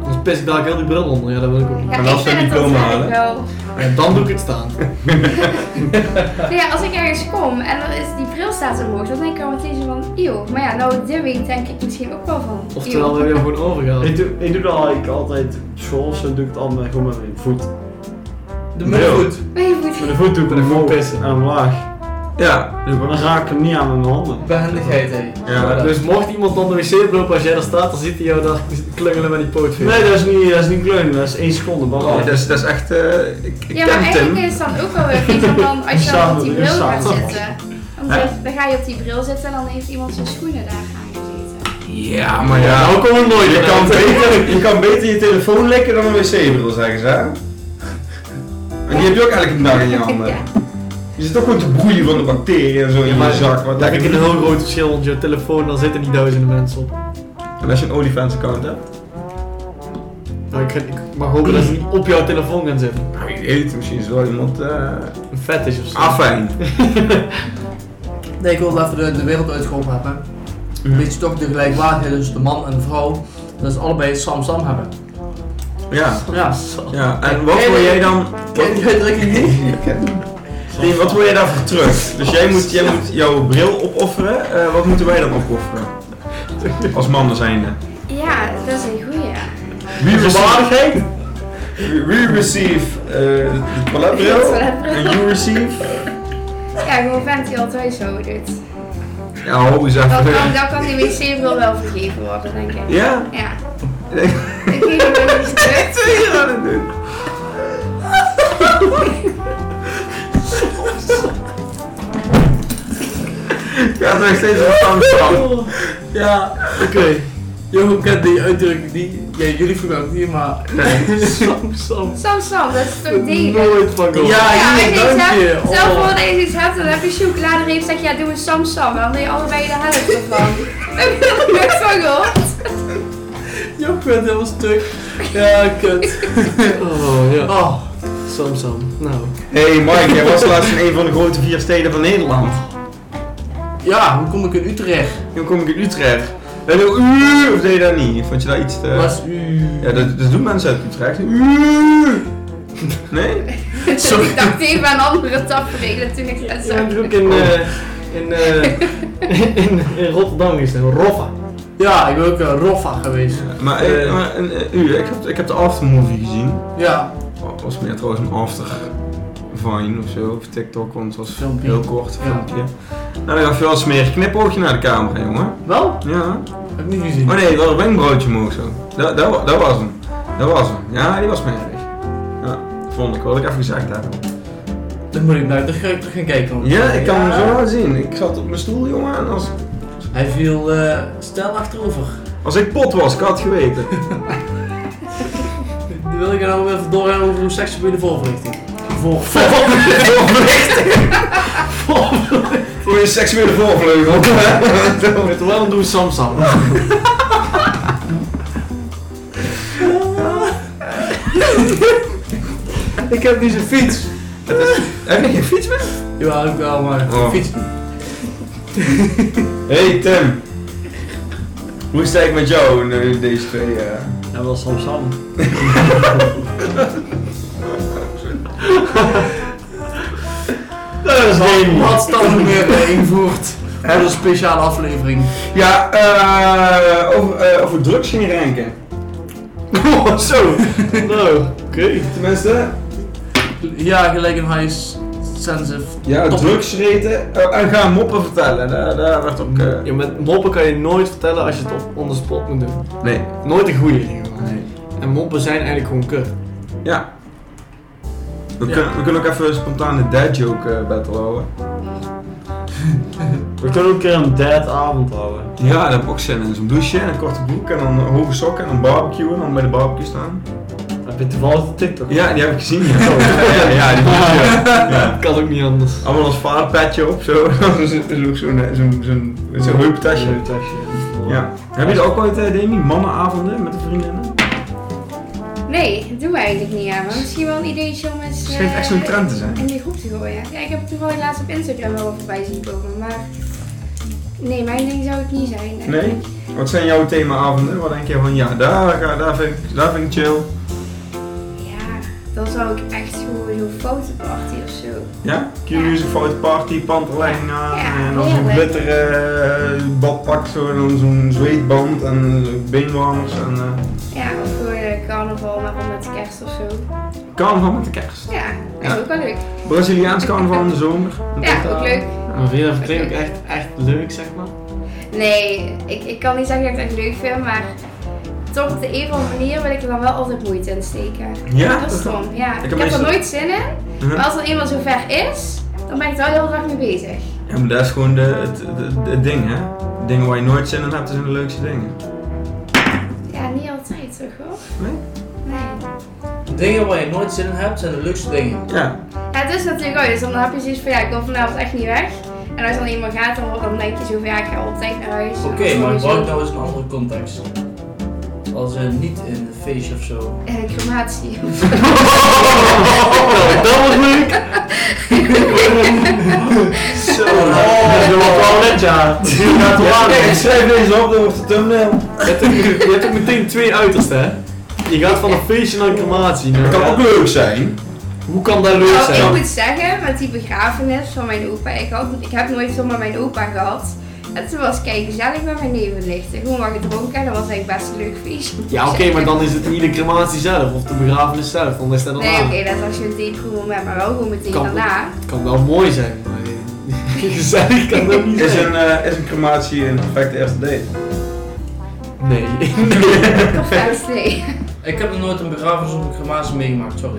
A: Anders pis ik daar ook heel die bril onder, ja, dat wil ik ook niet.
D: ja,
B: Maar als
D: ik
B: ze
D: vind
B: een
D: het dan
B: diploma
D: eigenlijk wel.
A: Ja, dan doe ik het staan.
D: Nou ja, als ik ergens kom en er is, die bril staat omhoog, dan denk ik al meteen zo van, eeuw. Maar ja, nou dit week denk ik misschien ook wel van,
A: Oftewel,
D: eeuw.
A: we hebben gewoon overgehaald.
E: Ik doe, ik doe dat eigenlijk altijd op school, zo doe ik het allemaal gewoon met mijn voet.
C: De muur goed.
D: Maar je moet
E: Met de voet doe ik
A: Met de voet
E: omhoog
A: pissen.
E: en omlaag.
B: Ja.
E: Dus, maar dan raak ik hem niet aan met mijn handen.
C: Behendigheid, hé.
B: Ja,
A: Dus mocht iemand dan de wc lopen als jij daar staat, dan ziet hij jou daar klungelen met die pootveer.
E: Nee, dat is niet, dat is niet kleunen, dat is één seconde. Maar
B: Oh, dat, is, dat is echt... eh ik ik
D: Ja, maar
B: ken Tim.
D: eigenlijk is het dan ook wel weer vies om dan als je dan
E: Samen,
D: op die
E: we
D: bril
E: doen
D: gaat
E: samen.
D: zitten. Dan,
B: Hè?
D: zeg- dan ga je op die bril zitten en dan heeft iemand zijn schoenen daar aangezeten.
B: Ja, maar ja.
A: Nou komen we nooit
B: Je
A: meer
B: kan,
A: uit.
B: beter, je kan beter je telefoon lekken dan een wc-bril, zeggen ze. hè? En die heb je ook elke dag in je
C: Oh,
B: handen.
D: Ja.
B: Je zit ook gewoon te broeien van de bacteriën en zo in je zak. Wat
A: Dat
B: lekker
A: vind ik een heel groot verschil, want je telefoon, daar zitten niet duizenden mensen op.
B: En als je een OnlyFans-account hebt?
A: Nou, ik, ik mag hopen dat ze niet op jouw telefoon gaan zitten.
B: Nou, ik weet het, misschien is wel iemand... eh
A: Een fetish of zo.
B: afijn.
C: Nee, ik wilde even de, de wereld uitgeholpen hebben.
A: Mhm.
C: Een beetje toch de gelijkwaardigheid tussen de man en de vrouw. Dat ze allebei Sam Sam hebben.
B: Ja.
C: Ja.
B: ja. En wat wil jij dan...
C: Ken je die uitdrukking niet?
B: Nee, wat wil jij daarvoor terug? Dus jij moet, jij moet jouw bril opofferen. eh, wat moeten wij dan opofferen? Als mannen zijnde.
D: Ja, dat is een goeie.
B: Wie receive,
A: Waardigheid?
B: we receive eh, de toiletbril. En you receive.
D: Ja, gewoon vent die altijd zo doet.
B: Ja, hou eens
D: Dan
B: even.
D: kan, dan kan die wc-bril wel vergeven worden, denk ik.
B: Ja?
D: Ja. Ik weet niet wat je zegt.
B: Twee aan het doen. Ja, nog steeds een tandstand. Ja.
A: Oké.
C: Johan kent die uitdrukking niet. Ja, jullie vroegen ook niet, maar...
A: Sam, Sam.
D: Sam, Sam, dat is toch degelijk.
A: Nooit van gehoord.
C: Ja, hier,
D: Ja, als je iets
C: dank je.
D: hebt, stel voor
C: Oh.
D: dat je iets hebt, dan heb je chocoladereep, zeg je ja, doe een Sam Sam, dan ben je allebei de helft ervan. Heb je er nooit van gehoord?
C: Johan werd helemaal stuk. Ja, kut.
A: Oh, ja.
C: Oh.
A: Sam, Sam. Nou.
B: Hey Mike, jij was laatst in een van de grote vier steden van Nederland.
C: Ja, hoe kom ik in Utrecht?
B: Nu kom ik in Utrecht. En dan uur, of deed je dat niet? Vond je dat iets te...
C: Was u...
B: Ja, dat, dat doen mensen uit Utrecht. Uur. Nee?
C: Sorry.
D: ik dacht even aan andere tafereelen toen ik dat
A: Ja,
D: zag.
A: ik heb ook in, eh, in, eh, in, in Rotterdam is een Roffa.
C: Ja, ik ben ook een Roffa geweest.
B: Maar, eh, maar een eh, uur, ik heb, ik heb de aftermovie gezien.
C: Ja.
B: Wa- was meer trouwens een after Vine of zo, of TikTok, want het was
C: Filmpje.
B: heel kort
C: Ja.
B: filmpje. Nou, dan gaf je wel een smerig knipoogje naar de camera, jongen.
C: Wel?
B: Ja.
C: Heb ik niet gezien.
B: Oh nee, wel een wenkbrauwtje omhoog zo. Dat, dat, wa- dat was hem. Dat was hem. Ja, die was smerig. Ja, vond ik. Wat ik even gezegd heb.
C: Dan moet ik naar de terug gaan kijken. want- eh,
B: Ja, ik kan hem zo wel zien. Ik zat op mijn stoel, jongen, en als,
C: Hij viel eh stel achterover.
B: als ik pot was, ik had het geweten.
C: Nu wil ik er nou even doorgaan over hoe seksuele voorverlichting. Voor.
B: Voor je seksuele voorvleugel.
A: Met wel een doe Sam Sam.
C: Ik heb nu zijn fiets.
B: heb je geen fiets meer?
C: Ja, ik wel, maar
B: Oh.
C: fiets.
B: Hey Tim. Hoe is het eigenlijk met jou in eh, deze twee eh,
E: Dat was Sam Sam.
C: Dat is wat standaard meer invoert. Een speciale aflevering.
B: Ja, eh, over, eh, over drugs ging ranken.
A: Oh, zo. Nou, oké.
B: Tenminste,
C: Ja, gelijk een high sensitive.
B: ja,
C: Top.
B: drugs reten eh, en gaan moppen vertellen. Daar, daar werd ook... eh,
A: Ja, met moppen kan je nooit vertellen als je het op on the spot moet doen.
B: nee.
A: Nooit een goede dingen. man.
B: nee.
A: En moppen zijn eigenlijk gewoon kut.
B: Ja. We,
C: Ja.
B: Kunnen, we kunnen ook even spontaan een dad joke eh, battle houden.
E: We kunnen ook een keer een dead avond houden.
B: Ja, daar heb ik ook zin in. Zo'n douche en een korte broek en dan een hoge sokken en een barbecue en dan bij de barbecue staan.
E: Heb je toevallig de TikTok?
B: Ja, die heb ik gezien. Ja, ja, ja, die douche. Ja.
A: Kan ook niet anders.
B: Allemaal als vaderpetje op, zo. Dat is is ook zo'n eh, zo'n zo'n zo'n heuptasje.
E: Leuk tasje.
B: Ja. Heb je dat ook ooit, eh, Demi? Mannenavonden met de vriendinnen?
D: Nee, dat doen we eigenlijk niet aan. Maar misschien wel een ideetje om eens...
B: Het schijnt echt zo'n
D: eh,
B: trend te zijn.
D: in die groep te gooien. Ja, ik heb het toevallig laatst op Instagram wel wat voorbij zien komen, maar nee, mijn ding zou het niet zijn.
B: Nee? Wat zijn jouw themaavonden? Wat denk je van, ja, daar, ga- daar, vind, ik, daar vind ik chill.
D: Ja, dan zou ik echt gewoon zo'n fotoparty of zo.
B: Ja? Q-music, fout party, panterlijn aan
D: Ja,
B: en dan zo'n
D: heerlijk.
B: glitter eh, badpak zo en dan zo'n zweetband en beenwarmers en... eh
D: Ja, of gewoon eh, carnaval, maar dan met kerst of zo.
B: carnaval met de kerst.
D: Ja, dat is
B: Ja.
D: ook wel leuk.
B: Braziliaans carnaval in de zomer.
D: Ja, ook leuk.
A: Maar vind je dat verkleed ook echt, echt leuk, zeg maar?
D: Nee, ik, ik kan niet zeggen dat ik het echt leuk vind, maar toch op de een of andere manier wil ik er dan wel altijd moeite in steken.
B: Ja?
D: Dat is stom, ja. Ik heb, er
B: meestal-
D: nooit zin in, maar als er eenmaal zover is, dan ben ik er wel heel erg mee bezig.
B: Ja, maar dat is gewoon de, het, het, het ding, hè. Dingen waar je nooit zin in hebt, dat zijn de leukste dingen.
D: Ja, niet altijd toch hoor.
B: Nee?
D: Nee.
C: Dingen waar je nooit zin in hebt zijn de leukste dingen.
B: Ja.
D: Ja, het is natuurlijk ook, dus dan heb je zoiets van ja, ik wil vanavond echt niet weg. En als dan iemand gaat, dan, dan denk je zo van ja, ik ga altijd naar huis.
C: Oké, maar gebruik nou eens een andere context. Als eh, niet in een feestje of zo.
D: En een crematie.
A: dat was leuk!
E: Zo, dat is wel wel net ja. Die gaat te laat.
B: ik schrijf deze op, dat wordt de thumbnail.
A: Je hebt, ook, je hebt ook meteen twee uitersten, hè? Je gaat van een feestje naar een crematie. Nou,
B: Dat kan
A: ja,
B: ook leuk zijn.
A: Hoe kan dat leuk
D: Nou, ik
A: zijn?
D: moet zeggen, met die begrafenis van mijn opa, ik, had, ik heb nooit zomaar mijn opa gehad. En toen was ik gezellig met mijn neven lichten. Gewoon wat gedronken en dat was eigenlijk best een leuk feestje.
A: Ja, oké, maar dan is het niet de crematie zelf of de begrafenis zelf, dan is dat dan
D: Nee, oké, dat was je date goed moment, maar wel gewoon meteen
A: Kan
D: daarna.
A: Het kan wel mooi zijn, maar gezellig kan dat niet
B: Is
A: zijn.
B: een, eh, is een crematie een perfecte eerste date?
A: Nee.
D: Perfect, nee.
C: Ik heb nog nooit een begrafenis of een crematie meegemaakt, sorry.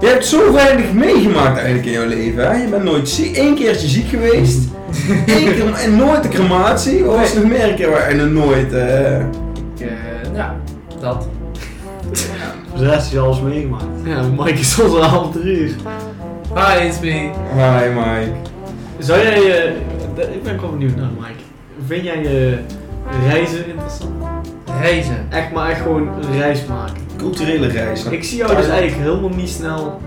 B: Je hebt zo weinig meegemaakt eigenlijk in jouw leven. Hè? Je bent nooit ziek, één keertje ziek geweest. Eén keer, en nooit de crematie. Of was er nog meer een keer waar en dan nooit. eh
C: Ik, eh, ja, dat.
E: Voor de rest is alles meegemaakt.
A: Ja, Mike is onze half drie uur.
C: Hi, it's me.
B: Hi Mike.
A: Zou jij, eh, d- ik ben wel benieuwd naar Mike. Vind jij je reizen interessant?
C: Reizen.
A: Echt maar echt gewoon een reis maken.
B: Culturele reis.
A: Ik zie jou dus eigenlijk helemaal niet snel.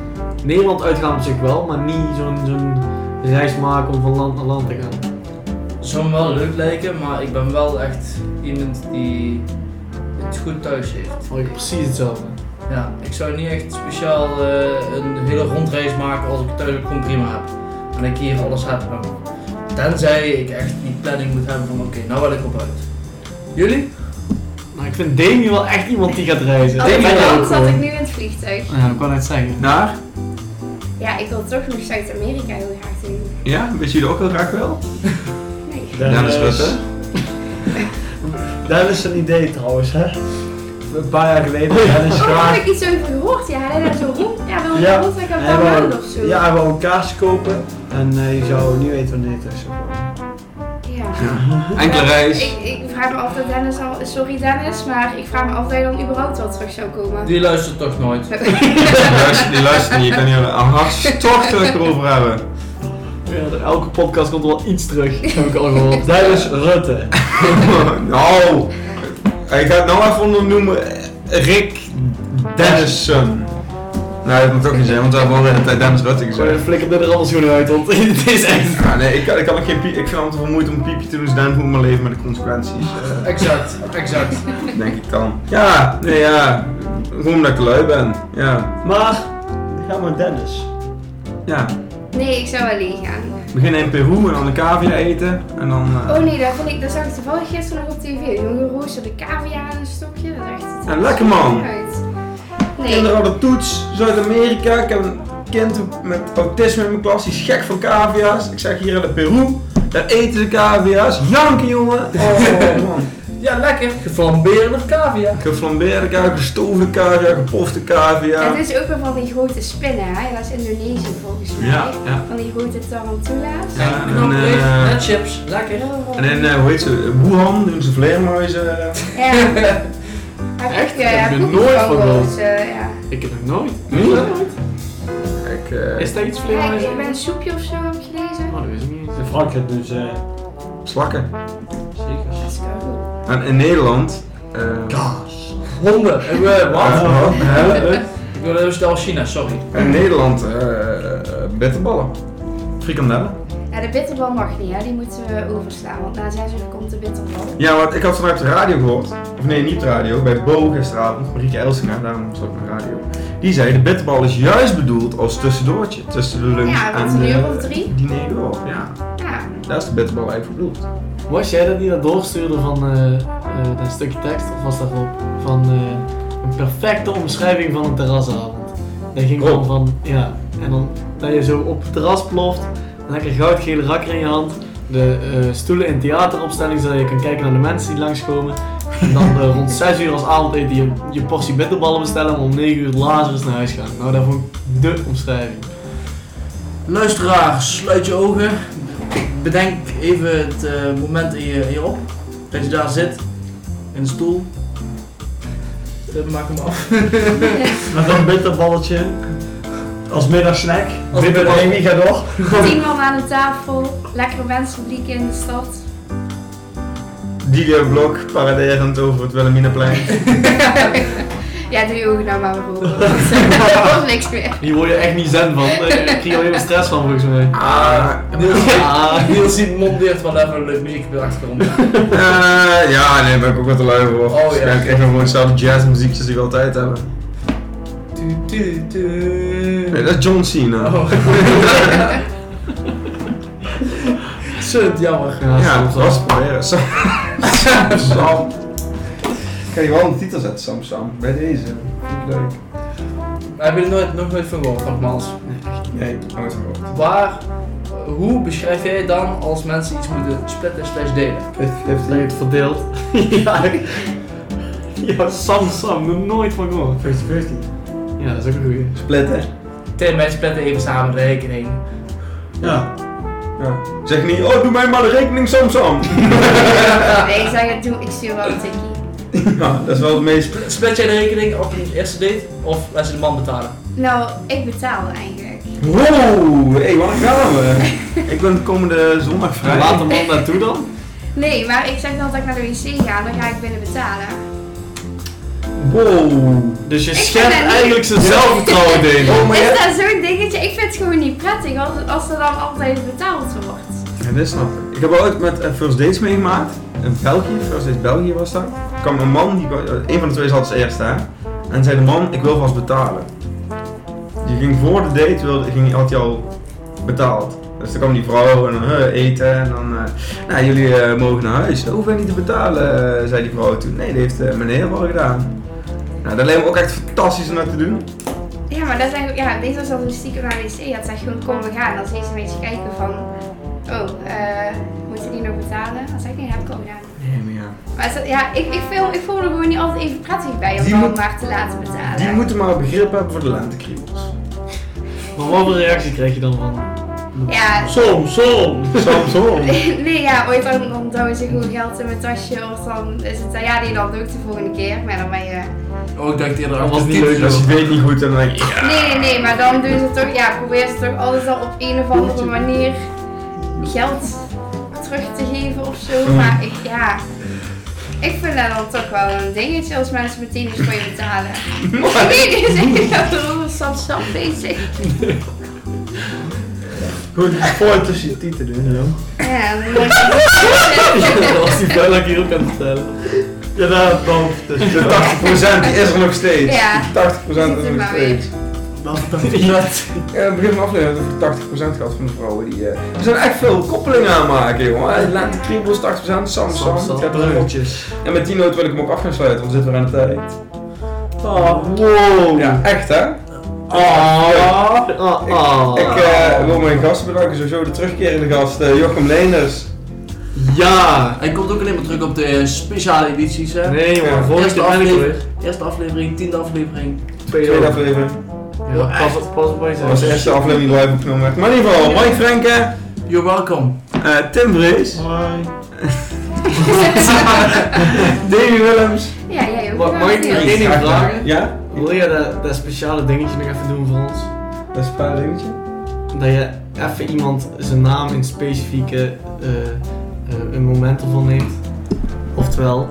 A: Nederland uitgaan op zich wel, maar niet zo'n zo'n reis maken om van land naar land te gaan.
C: zou me wel leuk lijken, maar ik ben wel echt iemand die het goed thuis heeft.
A: Vond ik precies hetzelfde.
C: Ja, ik zou niet echt speciaal eh, een hele rondreis maken als ik het thuis ook gewoon prima heb. En ik hier alles heb. dan. Tenzij ik echt die planning moet hebben van oké, nou wil ik op uit. Jullie?
A: Maar Nou, ik vind Demi wel echt iemand die gaat reizen.
D: Als ik
A: Ben jij
D: kon,
A: ook
D: zat
A: gewoon?
D: ik nu in het vliegtuig.
A: Ja, ik kan net zeggen.
B: Naar?
D: Ja, ik wil toch nog Zuid-Amerika heel graag doen.
B: Ja, weet jullie ook heel graag wel?
D: Nee.
B: Dennis Rutte.
E: Dat is een idee trouwens, hè? Een paar jaar geleden, Dennis
D: Oh, daar
E: graag.
D: heb ik iets over gehoord. Ja, hij had zo'n rond. Ja, wel
E: Ja,
D: een rond, ik heb
E: Hij
D: een maanden
E: wou,
D: of zo.
E: ja, hij wou een kaars kopen en eh, je zou niet weten wanneer het is.
D: Ja.
B: Enkele reis.
D: Ik, ik vraag me altijd, Dennis, al, sorry Dennis, maar ik vraag me af dat je dan überhaupt wel terug zou komen.
C: Die luistert toch nooit.
B: Die luistert niet, je kan hier hartstochtelijk over hebben.
A: Ja, elke podcast komt er wel iets terug, heb ik al gehoord.
E: Dennis Rutte.
B: Nou, ik ga het nou even ondernoemen. Rick Dennison. Nou, dat moet ook niet zijn, want we hebben al de hele tijd Dennis Rutte gezegd.
A: Sorry, flikker dit er allemaal schoenen uit, want dit is echt...
B: Ja, nee, ik kan, ik kan ook geen piep. Ik vind het altijd veel moeite om een piepje te doen, dus daarom moet ik maar leven met de consequenties. eh,
C: Exact, exact.
B: denk ik dan. Ja, nee, ja. Gewoon omdat ik lui ben. Ja,
E: Maar, ga maar Dennis.
B: ja.
D: Nee, ik zou alleen gaan.
B: beginnen in Peru en dan een cavia eten. En dan... eh,
D: Oh nee, dat, vond ik, dat zag ik toevallig gisteren nog op tv. Zo'n geroosterde cavia en een stokje. Dat is echt...
B: Ja, lekker, man.
D: Uit. Nee,
B: Kinderen hadden toets, Zuid-Amerika. Ik heb een kind met autisme in mijn klas, die is gek van cavia's. Ik zeg hier in de Peru, daar eten ze cavia's. Janken jongen! Oh man.
C: Ja, lekker. Geflambeerde cavia.
B: Geflambeerde cavia, gestoofde cavia, gepofte cavia.
D: het is ook wel van die grote spinnen, hè? Dat is Indonesië volgens mij.
B: Ja, ja.
D: Van die grote tarantula's.
B: Ja, en,
C: Knapbreed
B: eh,
C: en chips. Lekker.
B: En in, eh, hoe heet ze, Wuhan doen ze vleermuizen.
D: Ja. eh,
A: Echt?
D: Heb ik,
A: Heb
D: eh,
A: je
D: koekjes
A: nooit
D: van
A: van gehoord?
D: roos, eh, ja.
A: Ik heb nog nooit.
B: Nee?
A: Nooit?
B: Ik, eh,
A: Is dat iets
D: Ja,
A: vleermuis?
D: ik, ik ben een soepje of zo heb ik gelezen.
A: Oh, dat weet ik niet.
E: In Frankrijk dus eh
B: slakken.
E: zeker.
D: Dat is wel goed.
B: En in Nederland... eh,
E: Kaas.
C: Honden. En we, wat?
B: eh, hè?
C: Ik wil even snel China, sorry.
B: In Nederland eh, eh, bitterballen. Frikandellen.
D: Ja, de bitterbal mag niet, hè? die moeten we overslaan. Want na zes uur komt de bitterbal.
B: Ja, want ik had vanuit de radio gehoord. Of nee, niet de radio. Bij Bo gisteravond. Marieke Elsinga, daarom zat ik op de radio. Die zei, de bitterbal is juist bedoeld als tussendoortje. Tussen de lunch
D: Ja,
B: en
D: rond een
B: eh,
D: uur of drie.
B: diner door. Ja,
D: Ja,
B: daar is de bitterbal eigenlijk voor bedoeld.
A: Was jij dat die dat doorstuurde van eh, eh, dat stukje tekst? Of was dat Rob? Van eh, een perfecte omschrijving van een terrasavond. Dat
C: Oh.
A: ging gewoon
B: Rob.
A: van, ja. En dan dat je zo op het terras ploft. Lekker goudgele rakker in je hand. De eh, stoelen in theateropstelling, zodat je kan kijken naar de mensen die langskomen. En dan eh, rond 6 uur als avondeten je, je portie bitterballen bestellen. En om 9 uur lazerus naar huis gaan. Nou, dat vond ik de omschrijving.
C: Luisteraar, sluit je ogen. Bedenk even het eh, moment in je, in je op. Dat je daar zit. In de stoel. Eh, maak hem af.
E: Met een bitterballetje. Als middagsnack.
C: Als
E: Bitterbal-
C: middag-
E: Nee, wie gaat door?
D: tien man aan de tafel, lekkere mensenpubliek in de stad.
B: Didier Blok paraderend over het Wilhelminaplein.
D: Ja, doe je ogen nou maar weer open. Dat was niks meer.
A: Hier word je echt niet zen van. Daar krijg je alleen maar stress van volgens mij.
B: Ah,
C: Niels,
A: Ah.
C: Niels ziet mondeert wel even een leuk muziek op de achtergrond.
B: eh, ja, nee, ben ik ook wat te lui voor.
C: Oh, ja.
B: Waarschijnlijk krijgen we gewoon hetzelfde jazzmuziekjes die we altijd hebben.
C: Tu, tu, tu.
B: Nee, dat is John Cena.
C: Oh. Zut, jammer.
B: Ja, dat
A: soms wel.
B: was het proberen. Sam. Sam. Ik kan je wel een titel zetten, Sam Sam. Bij deze. Vind ik leuk.
C: Maar heb je er nooit, nog nooit van gehoord, nogmaals.
B: Nee, nooit gehoord.
C: Waar, hoe beschrijf jij dan als mensen iets moeten splitten slash delen?
A: Dat je het verdeelt. ja. Ja, Sam Sam, nog nooit van gehoord.
E: 50-50.
A: Ja, dat is ook een goeie.
B: Splitten.
C: Tim, wij splitten even samen de rekening.
E: Ja.
B: Ja. Zeg niet, oh doe mij maar de rekening Sam Sam.
D: Nee, ik zeg het, doe, ik stuur wel een tikkie.
B: ja, Nou, dat is wel het meest...
C: Split jij de rekening op een eerste date of laat ze de man betalen?
D: Nou, ik betaal eigenlijk.
B: Wow, hé, waar gaan we? ik ben de komende zondag vrij.
A: Laat de man naartoe dan.
D: Nee, maar ik zeg dan dat ik naar de wc ga, dan ga ik binnen betalen.
B: Wow.
A: Dus je
D: Ik
A: schept
D: ben er niet.
A: eigenlijk zijn zelfvertrouwen delen.
B: Oh, maar
D: Is
B: ja.
D: dat zo'n dingetje? Ik vind het gewoon niet prettig als, als er dan altijd betaald wordt.
B: Ja, dat snap ik. Ik heb ooit met eh, First Dates meegemaakt. In België, First Dates België was dat. Er kwam een man, die, wa- eh, een van de twee zat als eerste hè. En zei de man, ik wil vast betalen. Die ging voor de date, wilde, ging, had hij al betaald. Dus dan kwam die vrouw en dan eh, eten en dan, eh, nou jullie eh, mogen naar huis. Dat hoef ik niet te betalen, eh, zei die vrouw toen. Nee, dat heeft eh, meneer wel gedaan. Nou, dat leek me ook echt fantastisch om dat te doen.
D: Ja, maar dat zijn gewoon- ja, weet als dat een stiekem naar de wc had, zeg gewoon kom we gaan. Dan zie je ze een beetje kijken van, oh, eh, moeten die nog betalen? Dan zeg ik nee, dat heb ik al gedaan.
B: Nee, maar ja.
D: Maar is dat- ja, ik, ik, voel, ik voel er gewoon niet altijd even prettig bij om
B: Die
D: dan
B: moet-
D: maar te laten betalen.
B: Die moeten maar begrip hebben voor de lentekriebels.
A: Maar wat voor reactie krijg je dan van?
D: Ja,
A: Som, som!
B: Soms hoor.
D: nee, ja, ooit dan, dan douwen ze gewoon geld in mijn tasje of dan is het, dan- ja, die dan ook de volgende keer, maar dan ben je...
C: Oh, ik dacht eerder
A: Dat
C: achter
A: was
C: de
A: niet
C: titel.
A: leuk,
B: Als je het weet niet goed en dan denk je, ja.
D: Nee, nee, nee, maar dan doen ze toch, ja, probeer ze toch altijd al op een of andere manier geld terug te geven of zo,
B: Mm.
D: maar ik, ja... Ik vind dat dan toch wel een dingetje als mensen meteen iets voor je betalen. Nee, die zijn echt over Samsam bezig.
E: Goed, voor tussen je tieten doen, joh.
D: Ja, dan moet je-
A: Dat was die vuil dat ik hier ook aan het vertellen.
E: Ja, daar boven tussen.
B: De 80% die is er nog steeds.
D: Ja.
B: Die 80% is er nog steeds.
E: Dat vertelt dat.
G: Eh, begin van de aflevering hebben we 80% gehad van de vrouwen die... eh, er zijn echt veel koppelingen aanmaken, jongen. Eh, Laat de kriebels 80%, Sam, Sam,
A: Sam, Sam,
G: ik heb er een. En met die noot wil ik hem ook af gaan sluiten, want we zitten weer aan de tijd.
E: Oh,
H: Wow.
G: Ja, echt hè?
H: Ah, ah, ah.
G: Ik eh, wil mijn gasten bedanken, sowieso de terugkerende gast eh, Jochem Leeners.
A: Ja!
E: Hij komt ook alleen maar terug op de speciale edities. Hè?
A: Nee jongen,
G: Ja.
A: volgende
E: Eerste
A: keer ben ik er
E: aflevering.
A: weer.
E: Eerste aflevering, tiende aflevering.
G: Tweede aflevering.
A: Ja, pas op, pas op wat je
G: Dat was de
A: zegt.
G: eerste aflevering die live opgenomen werd. Maar in ieder geval, Mike Frenke,
E: You're welcome.
G: eh, Tim Vrees, Davy Willems.
D: ja, jij ook.
A: Mag- mag ik-
D: Ja.
A: Eén ding vragen?
G: Ja?
A: Wil je dat, dat speciale dingetje nog even doen voor ons?
G: Dat is een paar dingetje.
A: Dat je even iemand zijn naam in specifieke eh, eh, een moment ervan neemt. Oftewel,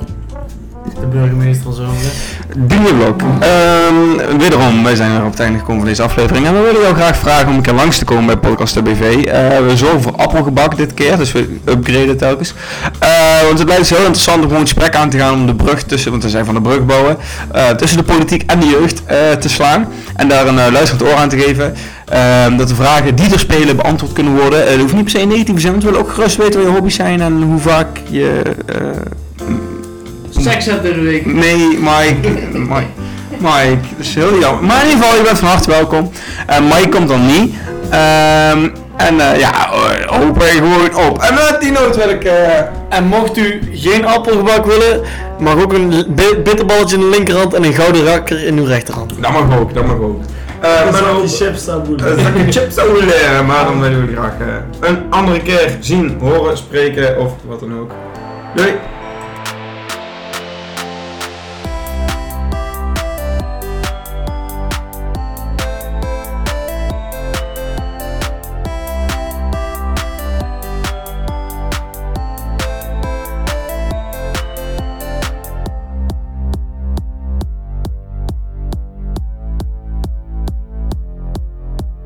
A: de burgemeester van Zomeren.
B: Bierblok. Ehm wederom, wij zijn er op het einde gekomen van deze aflevering. En we willen jou graag vragen om een keer langs te komen bij Podcast BV. Eh, we zorgen voor appelgebak dit keer, dus we upgraden telkens. Eh, want het blijft dus heel interessant om gewoon een gesprek aan te gaan om de brug tussen, want we zijn van de brug bouwen, eh, tussen de politiek en de jeugd eh, te slaan. En daar een eh, luisterend oor aan te geven. Ehm, dat de vragen die er spelen beantwoord kunnen worden. Eh, dat hoeft niet per se in negatief te zijn, want we willen ook gerust weten wat je hobby's zijn en hoe vaak je... eh,
E: Seks hebt in de week.
B: Nee, Mike. Mike. Mike, dat is heel jammer. Maar in ieder geval, je bent van harte welkom. En Mike komt dan niet. Ehm, en eh, ja, eh, hopen gewoon op. En met die noot wil ik... eh,
H: En mocht u geen appelgebak willen, mag ook een bi- bitterballetje in de linkerhand en een gouden rakker in uw rechterhand.
G: Dat mag ook, dat mag ook. Eh
H: Dat
G: maar ook
H: die chips daar
G: dat is een chips leren, maar dan willen we graag eh, een andere keer zien, horen, spreken of wat dan ook. Doei!